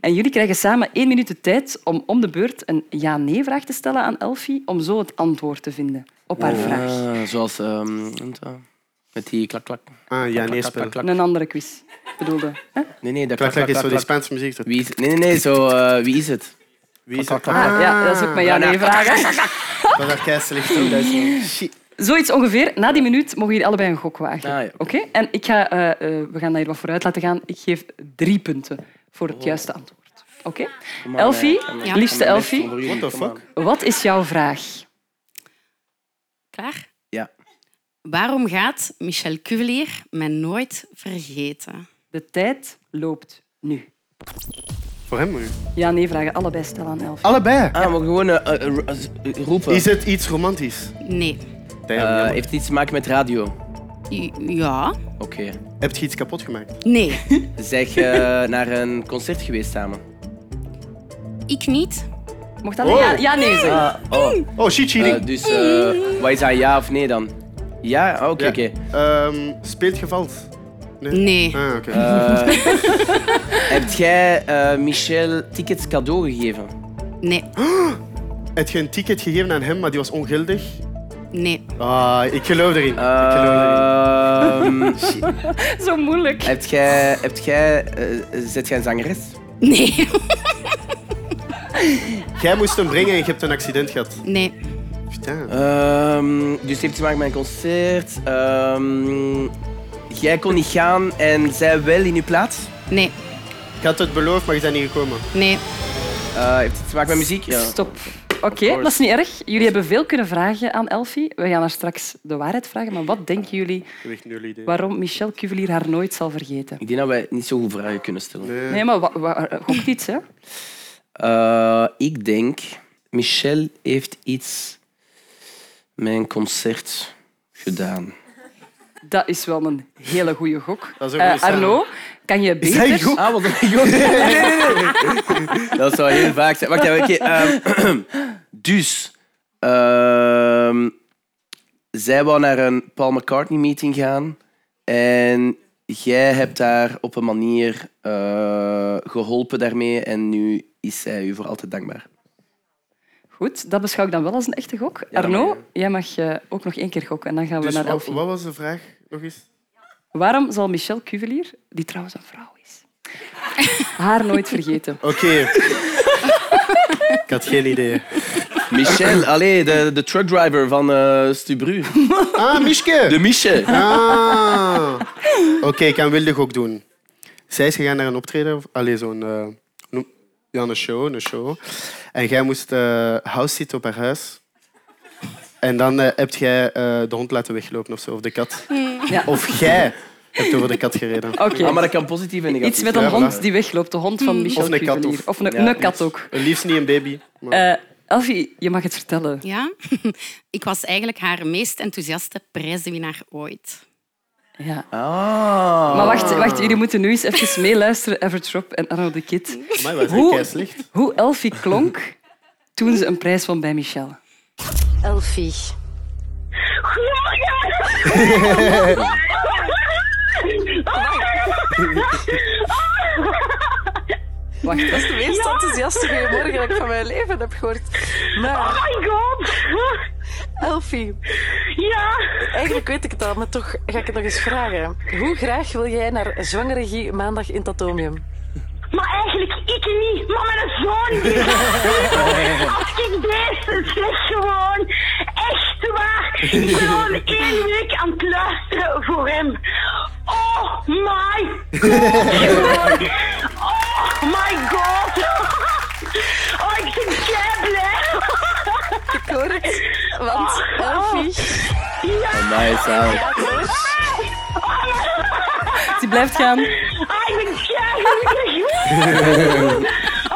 En jullie krijgen samen één minuut de tijd om om de beurt een ja-nee-vraag te stellen aan Elfie, om zo het antwoord te vinden op haar vraag. Ah, zoals... ehm, noemt dat? met die klak-klak. Ah, ja, nee, spel. Een andere quiz bedoelde. hè? Nee, nee, dat Klak, klak is zo die klak. Spaanse muziek. Wie is, nee, nee, nee, zo... eh, wie is het? Wie is het? Ah, ja, dat is ook mijn ja-nee-vraag. hè. Dat daar keiselijk zo. dat is zo- Zoiets ongeveer. Na die minuut mogen jullie allebei een gok wagen. Oké? En ik ga, eh, eh, we gaan daar hier wat vooruit laten gaan. Ik geef drie punten voor het juiste antwoord. Oké? Kom aan, Elfie, eh, kom aan. liefste Kom aan, Elfie. kom aan, What the kom aan. Wat is jouw vraag? Klaar? Ja. Waarom gaat Michel Cuvelier mij nooit vergeten? De tijd loopt nu. Voor hem nu. Ja-nee vragen allebei stellen aan Elfie. Allebei. Ah, maar gewoon eh, eh, ro- eh, roepen. Is het iets romantisch? Nee. Eh, heeft het iets te maken met radio? Ja. Oké. Heb je iets kapot gemaakt? Nee. Zeg, eh, naar een concert geweest samen? Ik niet. Mocht dat een ja- ja-nee zijn? Ah, oh. oh, shit, cheating. Eh, dus, eh, wat is dat, ja of nee dan? Ja? Ah, Oké, oké. Ehm, speelt je vals? Nee. Ah, oké. Eh, Heb jij eh, Michel tickets cadeau gegeven? Nee. Heb je een ticket gegeven aan hem, maar die was ongeldig? Nee. Ah, ik geloof erin. Eh, ik geloof erin. Zo moeilijk. Ehm, Heb jij... Heb jij eh, zet jij een zangeres? Nee. Jij moest hem brengen en je hebt een accident gehad. Nee. Ehm, dus het heeft te maken met een concert. Ehm, jij kon niet gaan en zij wel in je plaats? Nee. Je had het beloofd, maar je bent niet gekomen. Nee. Eh, heeft het te maken met muziek? Ja. Stop. Oké, dat is niet erg. Jullie hebben veel kunnen vragen aan Elfie. We gaan haar straks de waarheid vragen. Maar wat denken jullie Ik heb echt nul idee. waarom Michel Cuvelier haar nooit zal vergeten? Ik denk dat wij niet zo goed vragen kunnen stellen. Nee, maar wa- wa- gokt iets, hè? Eh, ik denk, Michel heeft iets met een concert gedaan. Dat is wel een hele goede gok. is een goeie Eh, Arno, kan je Is beter... hij goed? Ah, wat een gok. Nee, Dat zou heel vaak zijn. Wacht even. oké, ehm, dus, ehm, zij wou naar een Paul McCartney-meeting gaan. En jij hebt haar op een manier eh, geholpen daarmee. En nu is zij u voor altijd dankbaar. Goed, dat beschouw ik dan wel als een echte gok. dat Arno, jij mag eh, ook nog één keer gokken en dan gaan we Dus naar wat, Elfie. wat was de vraag nog eens? Waarom zal Michel Cuvelier, die trouwens een vrouw is, haar nooit vergeten? Oké. ik had geen idee. Michel, allee, de, de truckdriver van eh, Stubru. Ah, Mischke. De Michel. Ah. Oké, ik kan wilde ook doen. Zij is gegaan naar een optreden, of allee, zo'n eh, noem- ja, een show, een show. En jij moest eh house zitten op haar huis. En dan eh, heb jij eh, de hond laten weglopen of zo, of de kat. Ja. Of jij hebt over de kat gereden. Oké. Ah, maar dat kan positief en negatief. Iets met een Ja, hond voilà. die wegloopt, de hond van Michel Of een kat. Cuvelier. Of, Of een, een kat ook. Liefst niet een baby. maar- Eh, Elfie, je mag het vertellen. Ja? Ik was eigenlijk haar meest enthousiaste prijswinnaar ooit. Ja. Ah. Maar wacht, wacht, jullie moeten nu eens even meeluisteren, Everett Rob en Arno de Kid. Amai, wat is Hoe- dat keislicht. Hoe Elfie klonk toen ze een prijs won bij Michel. Elfie. Wacht, dat is de meest enthousiaste goeiemorgen dat ik van mijn leven heb gehoord. Maar... Oh my god! Elfie. Ja? Eigenlijk weet ik het al, maar toch ga ik het nog eens vragen. Hoe graag wil jij naar zwangeregie maandag in Tatomium? Maar eigenlijk ik niet, maar mijn zoon Als ik deze zeg gewoon, echt waar, ik ben al één week aan het luisteren voor hem. Oh my god! Oh my god! Oh, ik ben kei Nice, ouwe. Die blijft gaan. Ah, Ik ben Oh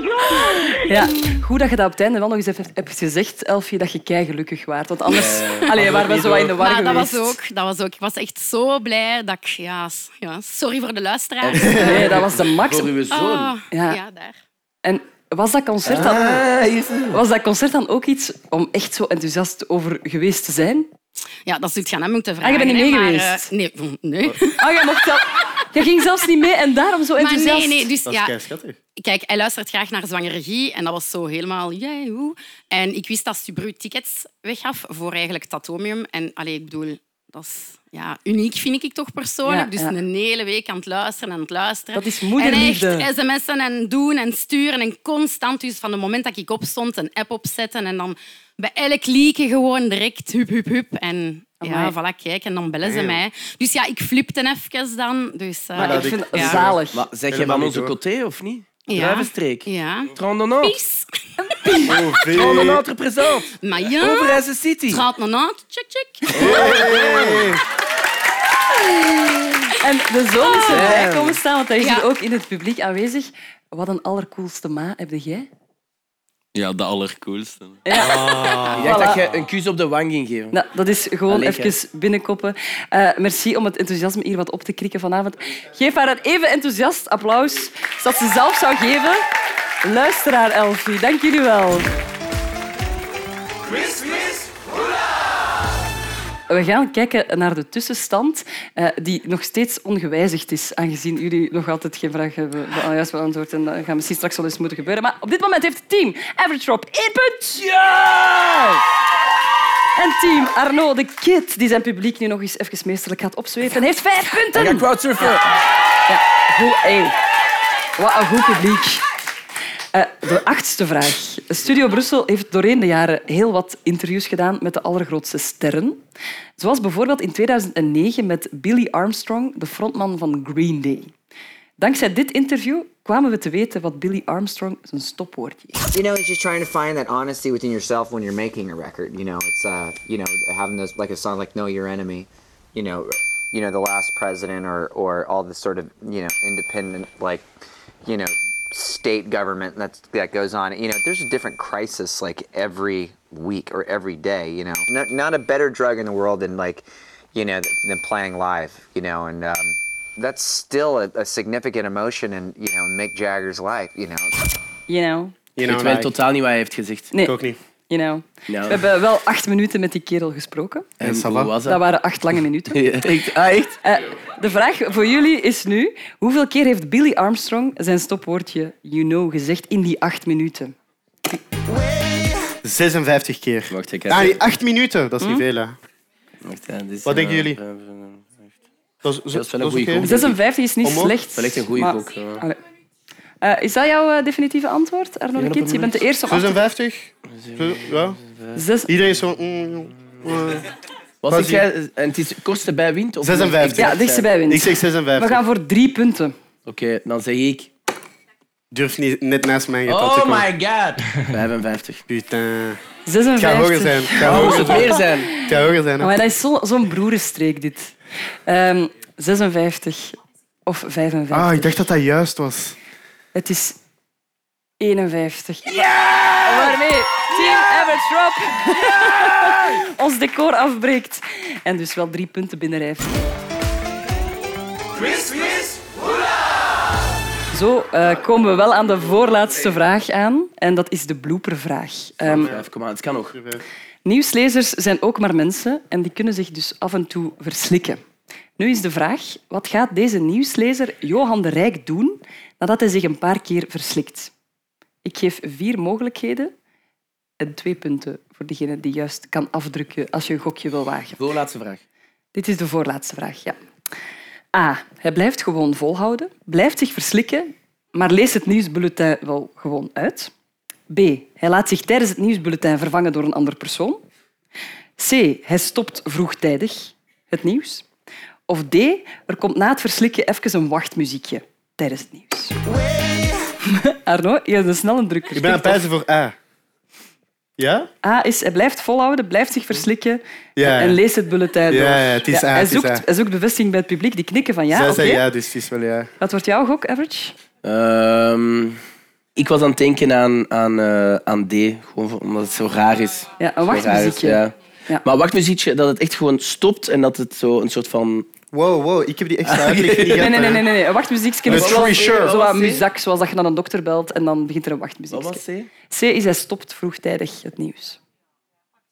klaar. Ja, goed dat je dat op het einde wel nog eens even hebt gezegd, Elfie, dat je kei gelukkig waart. Want anders allee, waren we zo wat in de war maar dat geweest. was, ook, dat was ook. Ik was echt zo blij dat ik... Ja, s- ja, sorry voor de luisteraars. Nee, dat was de max. Voor uw zoon. Ah, ja, daar. En was dat concert dan, Ah, hier is het. was dat concert dan ook iets om echt zo enthousiast over geweest te zijn? Ja, dat zult gaan aan moeten Ah, je vragen. bent niet mee hè, maar, geweest? eh, nee, nee. Ah, jij mocht zelf- Jij ging zelfs niet mee en daarom zo Maar nee, enthousiast. nee, dus Dat is ja. keischattig. Kijk, hij luistert graag naar zwangere Guy en dat was zo helemaal jij hoe. En ik wist dat Subru tickets weggaf voor eigenlijk Tatomium. En allee, ik bedoel, dat is ja, uniek, vind ik toch persoonlijk. Ja, dus ja. een hele week aan het luisteren en aan het luisteren. Dat is moederliefde. En echt sms'en en doen en sturen en constant. Dus van het moment dat ik opstond, een app opzetten en dan bij elk liedje gewoon direct hup, hup, hup. En ja, Amai. voilà, kijk, en dan bellen ze Damn. mij. Dus ja, ik flipte even dan. Dus, eh, ja. Maar zeg jij Helemaal van niet onze door. coté of niet? Ja. Druivenstreek. Ja. Trondenant. Pies. Trondenant represent. Maar Nou, ja. Overijse City. Trondenant. Check, check. En de zoon is erbij Ah. komen staan, want hij is Ja. hier ook in het publiek aanwezig. Wat een allercoolste ma heb jij? Ja, de allercoolste. Ik dacht dat je een kus op de wang ging geven. Nou, dat is gewoon Allee, gij. even binnenkoppen. Eh, merci om het enthousiasme hier wat op te krikken vanavond. Geef haar een even enthousiast applaus als dat ze zelf zou geven. Luisteraar Elfie, dank jullie wel. Quiz, quiz. We gaan kijken naar de tussenstand, eh, die nog steeds ongewijzigd is, aangezien jullie nog altijd geen vraag hebben be- ah, juist beantwoord. En dat gaat misschien straks wel eens moeten gebeuren. Maar op dit moment heeft het team Average Rob één punt. En team Arno de Kid, die zijn publiek nu nog eens even meesterlijk gaat opzwepen, heeft vijf punten. Ik ga crowdsurfen. Ja, goed. Hey. Wat een goed publiek. Eh, de achtste vraag. Studio Brussel heeft doorheen de jaren heel wat interviews gedaan met de allergrootste sterren. Zoals bijvoorbeeld in 2009 met Billy Armstrong, de frontman van Green Day. Dankzij dit interview kwamen we te weten wat Billy Armstrong zijn stopwoordje is. You know, it's just trying to find that honesty within yourself when you're making a record. You know, it's uh, you know, having those like a song like "Know Your Enemy," you know, you know, the last president or or all this sort of you know independent like, you know, state government that that goes on. You know, there's a different crisis like every week or every day. You know, not not a better drug in the world than like, you know, than playing live. You know, and um, that's still a, a significant emotion in you know Mick Jagger's life. You know. You know? Ik nou, weet wel totaal niet wat hij heeft gezegd. Nee. Ik ook niet. You know. We hebben wel acht minuten met die kerel gesproken. En En ça va? hoe was dat? dat waren acht lange minuten. Ja, echt? Eh, de vraag voor jullie is nu: hoeveel keer heeft Billy Armstrong zijn stopwoordje you know gezegd in die acht minuten? 56 keer. Wacht, ik Ah, nee, acht minuten, dat is niet Hm? veel. Hè. Wat eh, denken jullie? Dat is, dat is wel een dat goeie oké? gok. 56 is niet Omhoog? slecht. Wel echt een goeie maar- gok, ja. Allee. Eh, is dat jouw eh, definitieve antwoord, Arno de Kit? Je bent de eerste op acht- 56? Zo- Ja. Zes... Iedereen is zo... mm, eh, Was quasi. ik jij, en het is kosten bij wind? Of 56. Ja, dichtste bij wind. Ik zeg 56. We gaan voor drie punten. Oké, dan zeg ik... Durf niet net naast mijn getal te Oh komen. my god. 55. Putain. 56. Het gaat hoger zijn. Het gaat Oh, hoger moest het meer zijn? Het gaat hoger zijn. hè. Oh, Maar dat is zo- zo'n broerenstreek, dit. Ehm, 56 of 55. Ah, ik dacht dat dat juist was. Het is 51. Waarmee Team Average Rob ons decor afbreekt. En dus wel drie punten binnenrijft. Quiz, quiz. Zo eh, komen we wel aan de voorlaatste vraag aan. En dat is de bloopervraag. Ehm, Vijf, kom aan, het kan nog. nieuwslezers zijn ook maar mensen en die kunnen zich dus af en toe verslikken. Nu is de vraag, wat gaat deze nieuwslezer Johan de Rijk doen nadat hij zich een paar keer verslikt? Ik geef vier mogelijkheden en twee punten voor degene die juist kan afdrukken als je een gokje wil wagen. Voorlaatste vraag. Dit is de voorlaatste vraag, ja. A. Hij blijft gewoon volhouden, blijft zich verslikken, maar leest het nieuwsbulletin wel gewoon uit. B. Hij laat zich tijdens het nieuwsbulletin vervangen door een ander persoon. C. Hij stopt vroegtijdig het nieuws. Of D. Er komt na het verslikken even een wachtmuziekje tijdens het nieuws. Arno, je hebt een snelle druk. Ik ben aan het pijzen voor A. Ja? A is, hij blijft volhouden, blijft zich verslikken Ja. en leest het bulletin door. Ja, ja, het is A, hij, het is A. zoekt, hij zoekt bevestiging bij het publiek, die knikken van ja, Zij oké. zei ja, dus het is wel ja. Wat wordt jouw gok, Average? Ehm, ik was aan het denken aan, aan, eh, aan D, gewoon voor- omdat het zo raar is. Ja, een Zo raar is, wachtmuziekje. ja. Ja. Maar wachtmuziekje, dat het echt gewoon stopt en dat het zo een soort van... Wow, wow, ik heb die extra Nee, nee, nee, nee, nee, nee. Een wachtmuziekje Een is zoals, tree shirt. zoals Wat was die? muzak, zoals dat je naar een dokter belt en dan begint er een wachtmuziekje. Wat was C is hij stopt vroegtijdig het nieuws.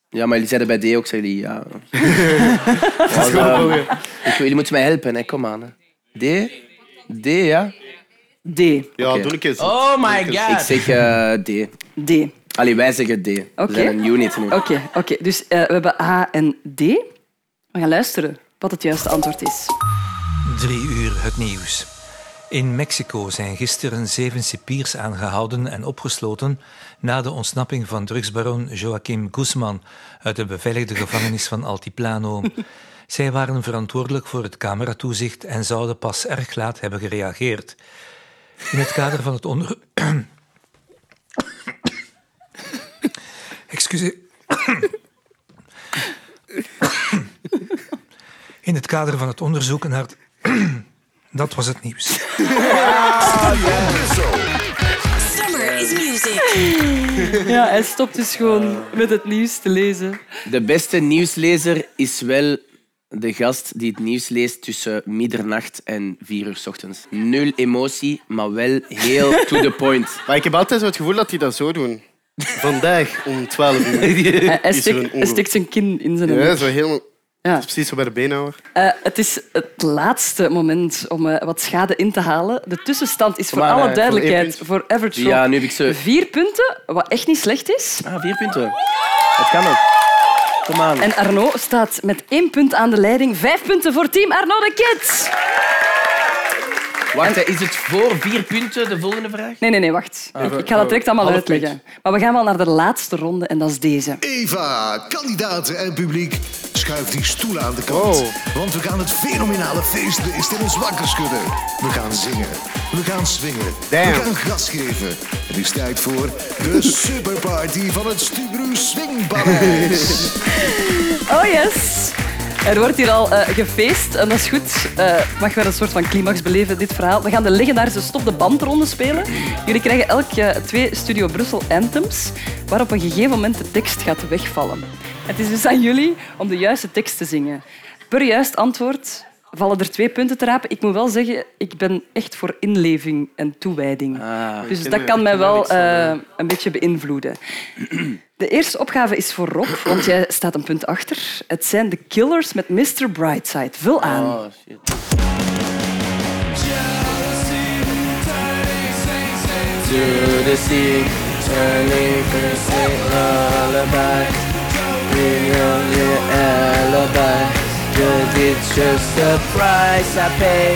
Ja, maar jullie zeiden bij D ook, zeiden jullie ja. Ja, gewoon dan- mooi. ik, jullie moeten mij helpen, hè. kom aan. Hè. D? D, ja? D. Ja, Ja, doe een keer zo. Oh Doe my een keer god. Ik zo. zeg eh, D. D. Allee, wij zeggen D. We Oké. zijn een unit nu. Oké, oké. dus eh, we hebben A en D. We gaan luisteren wat het juiste antwoord is. Drie uur het nieuws. In Mexico zijn gisteren zeven cipiers aangehouden en opgesloten na de ontsnapping van drugsbaron Joaquim Guzman uit de beveiligde gevangenis van Altiplano. Zij waren verantwoordelijk voor het cameratoezicht en zouden pas erg laat hebben gereageerd. In het kader van het onder... Excuseer. In het kader van het onderzoek naar... het- Dat was het nieuws. Summer is music. Ja, hij stopt dus gewoon met het nieuws te lezen. De beste nieuwslezer is wel de gast die het nieuws leest tussen middernacht en vier uur 's ochtends. Nul emotie, maar wel heel to the point. Maar ik heb altijd zo het gevoel dat die dat zo doen. Vandaag om 12 uur. Hij, hij is er steekt, een hij ongeluk. steekt zijn kin in zijn Ja, nek. zo helemaal. Ja. Dat is precies zo bij de beenhouwer. Eh, het is het laatste moment om eh, wat schade in te halen. De tussenstand is voor Maar, eh, alle voor één duidelijkheid punt. voor, Average Ja, Rob nu heb ik ze. vier punten, wat echt niet slecht is. Ah, vier punten. Dat kan ook. Kom aan. En Arnaud staat met één punt aan de leiding. Vijf punten voor team Arnaud de Kids. Wacht, hè, is het voor vier punten de volgende vraag? Nee, nee, nee, wacht. Ah, ik, we- ik ga dat we- direct allemaal half uitleggen. Maar we gaan wel naar de laatste ronde en dat is deze. Eva, kandidaten en publiek, schuif die stoelen aan de kant. Want we gaan het fenomenale feestbeest in ons wakker schudden. We gaan zingen, we gaan swingen, we gaan gas geven. Het is tijd voor de superparty van het Stubru Swingpaleis. Oh yes. Er wordt hier al eh, gefeest en dat is goed. Eh mag wel een soort van climax beleven, dit verhaal. We gaan de legendarische Stop de Bandronde spelen. Jullie krijgen elk eh, twee Studio Brussel anthems, waar op een gegeven moment de tekst gaat wegvallen. Het is dus aan jullie om de juiste tekst te zingen. Per juist antwoord vallen er twee punten te rapen. Ik moet wel zeggen, ik ben echt voor inleving en toewijding. dus dat kan mij wel eh, een beetje beïnvloeden. De eerste opgave is voor Rob, want jij staat een punt achter. Het zijn de Killers met Mr. Brightside. Vul aan. Oh. To the sea, turning for say lullaby. Bring on your alibi. Cause it's just a price I pay.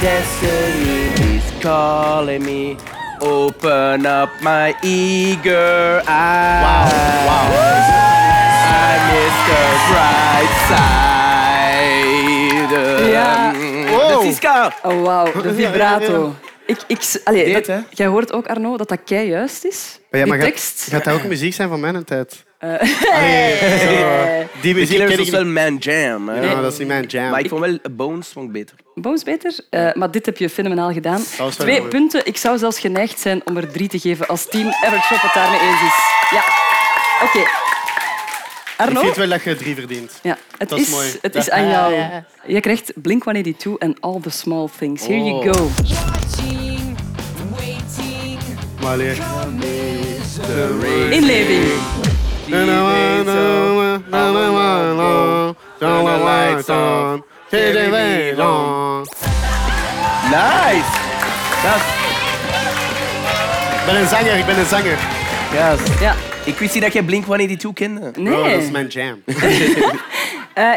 Destiny is calling me. Open up my eager eyes. Wow, I'm Mr. Brightside. Ja. Dat is Siska. Oh, wauw, de Ja, ja, vibrato. ja. Ik, ik, s- allee, Dit, dat- jij hoort ook, Arno, dat dat kei juist is. Maar ja, maar Die gaat- tekst. Gaat, dat ook muziek zijn van mijn tijd? eh, Zo, Die De muziek Killers ken was ik wel niet. mijn jam. hè. Ja, dat is niet mijn jam. Maar ik vond wel Bones vond ik beter. Boos beter, eh, maar dit heb je fenomenaal gedaan. wel Twee mooi. punten. Ik zou zelfs geneigd zijn om er drie te geven als team Average Rob het daarmee eens is. Ja. Oké. Ik Arno? vind wel dat je drie verdient. Ja, het Dat is, is mooi. Het is Ja. aan jou. Ja, ja, ja. Je krijgt Blink-182 en All the Small Things. Here you Oh. go. Maar allee. Inleving. Nice! Ik ben een zanger, ik ben een zanger. Yes. Ja. Ik wist niet dat jij Blink-182 kende. Nee. Bro, dat is Oh, mijn jam. Eh,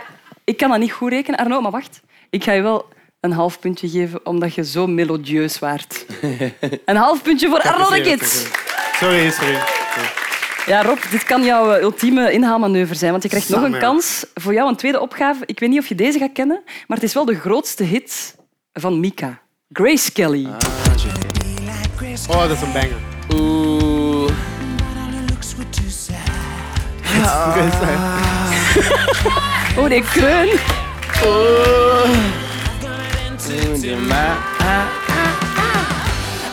ik kan dat niet goed rekenen, Arno, maar wacht. Ik ga je wel een half puntje geven, omdat je zo melodieus waart. Een half puntje voor Arno de Kids. Sorry, sorry. Ja, Rob, dit kan jouw eh, ultieme inhaalmanoeuvre zijn, want je krijgt nog een kans voor jou, een tweede opgave. Ik weet niet of je deze gaat kennen, maar het is wel de grootste hit van Mika. Grace Kelly. Ah. Oh, dat is een banger. Oeh. Oh nee, kreun.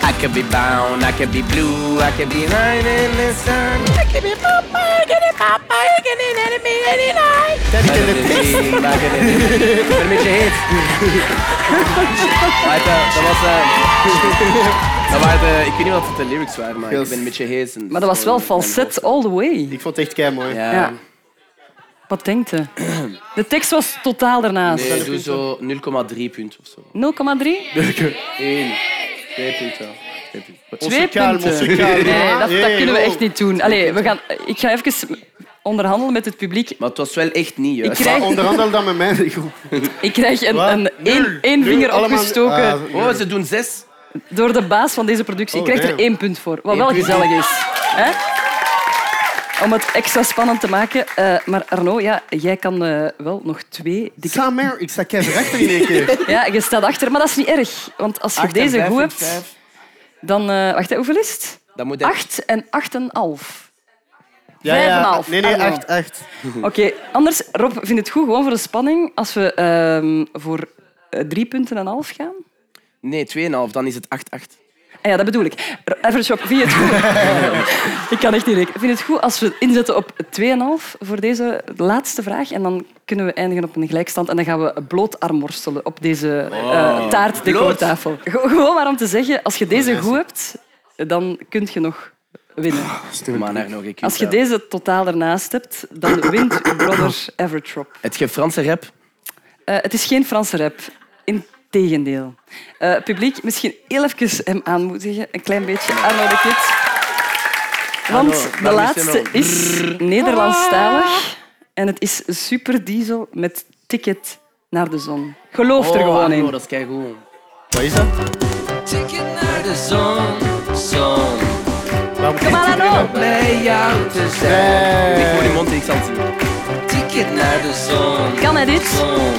I could be brown, I could be blue, I could be lying in the sun. I could be purple, I could be purple, I could be enemy, any night. I could be green, I could be Better met je hit. Uit, eh, Dat was... eh, Dat waren de, ik weet niet wat het de lyrics waren, maar ik ben een beetje hees. en- Maar dat Oh, was wel falset all the way. Ik vond het echt kei mooi. Ja. Wat denkt je? De tekst was totaal daarnaast. Nee, doe zo 0,3 punt of zo. 0,3? 1, 2 punten. Twee punten. Twee punten. Nee, dat, dat kunnen we echt niet doen. Allee, we gaan, ik ga even onderhandelen met het publiek. Maar het was wel echt niet juist. Ik krijg- Maar onderhandel dan met mij. Ik krijg een, Wat? een, één, één Nul. vinger Allemaal- opgestoken. Ah, nul. Oh, ze doen zes. Door de baas van deze productie. Ik Oh, krijg er damn. één punt voor, wat Eén wel punt. gezellig is. Hè? Om het extra spannend te maken. eh, maar Arno, ja, jij kan eh, wel nog twee... Dikke... Samer, ik sta keihard achter in één keer. Ja, je staat achter, maar dat is niet erg. Want als je Acht en deze vijf goed en hebt, vijf. dan... eh, wacht, hè, hoeveel is het? Dat moet Acht en acht en half. Ja, Vijf en ja. half. Ah, Nee, nee, Arno. echt, echt. Oké, anders, Rob, vind het goed, gewoon voor de spanning, als we ehm, voor eh, drie punten en half gaan? Nee, 2,5, dan is het 8-8. Ah ja, dat bedoel ik. R- Evershop, vind je het goed? ik kan echt niet rekenen. Vind je het goed als we inzetten op 2,5 voor deze laatste vraag? En dan kunnen we eindigen op een gelijkstand. En dan gaan we bloot armworstelen op deze eh Wow. taartdecortafel. Ge- gewoon maar om te zeggen, als je deze goed hebt, dan kun je nog winnen. Maar daar nog een keer. Als je deze totaal ernaast hebt, dan wint uw brother Evertrop. Het geeft Franse rap. Eh, het is geen Franse rap. Integendeel. Eh publiek, misschien heel even hem aanmoedigen. Een klein beetje. Arno de Kid. Want Arno, de daar laatste moest hij nog. is Brrr. Nederlandstalig. En het is Super Diesel met Ticket naar de Zon. Geloof er Oh, gewoon Arno, in. Dat is keigoed. Wat is dat? Ticket naar de zon, zon. Kom maar, Arno. Blij jou te zijn. Ik hoor die mond, ik zal het zien. Ticket naar de zon. Kan hij dit? Zon.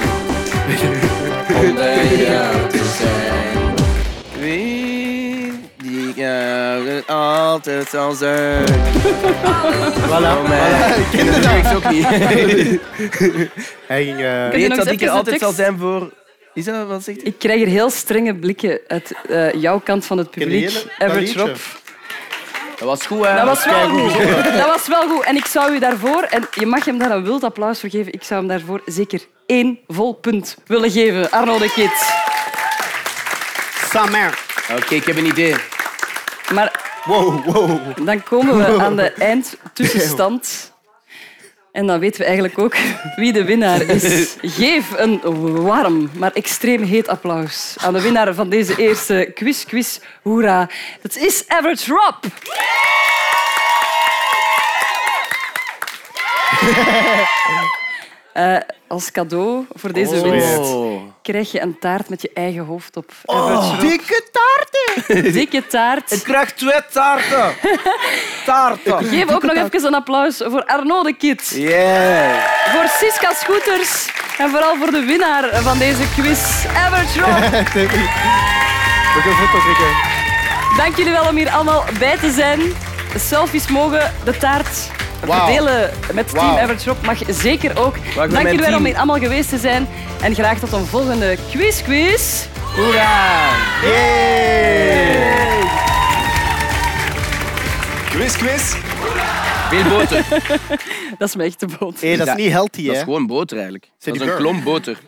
Om bij jou te zijn. Wie die jou altijd zal zijn. Voilà, Oh, man. voilà. Ik ken Dat dat. weet ik ook niet. Hij ging... eh, Weet dat ik er even de altijd tekst? zal zijn voor... Is dat wat zegt hij? Ik krijg er heel strenge blikken uit eh, jouw kant van het Ken je publiek. hele- dat Evertrop. liedje? Dat was goed, hè? Dat was wel Keigoed. goed. Dat was wel goed. En ik zou u daarvoor, en je mag hem daar een wild applaus voor geven, ik zou hem daarvoor zeker één vol punt willen geven. Arno de Kid. Samer. Oké, ik heb een idee. Maar Wow, wow. dan komen we aan de eindtussenstand. En dan weten we eigenlijk ook wie de winnaar is. Geef een warm, maar extreem heet applaus aan de winnaar van deze eerste quiz, quiz, hoera. Dat is Average Rob. Eh, als cadeau voor deze Oh. winst Sweet. krijg je een taart met je eigen hoofd op. Average Rob. Dikke taarten! Dikke taart. Ik krijg twee taarten. Taarten. Geef ook nog even een applaus voor Arno de Kid. Yeah. Voor Siska Scooters. En vooral voor de winnaar van deze quiz, Average Rob. We gaan foto's trekken. Dank jullie wel om hier allemaal bij te zijn. Selfies mogen de taart Wauw. verdelen met Team Wauw. Average Rob. Mag zeker ook. mijn Dank jullie wel om team. hier allemaal geweest te zijn. En graag tot een volgende quiz quiz. Hoera. Quiz quiz. Veel boter. Dat is me echt te boot. Hé, dat is niet healthy, hè? Dat is gewoon boter, eigenlijk. Zijn die dat is een burger? klomp boter.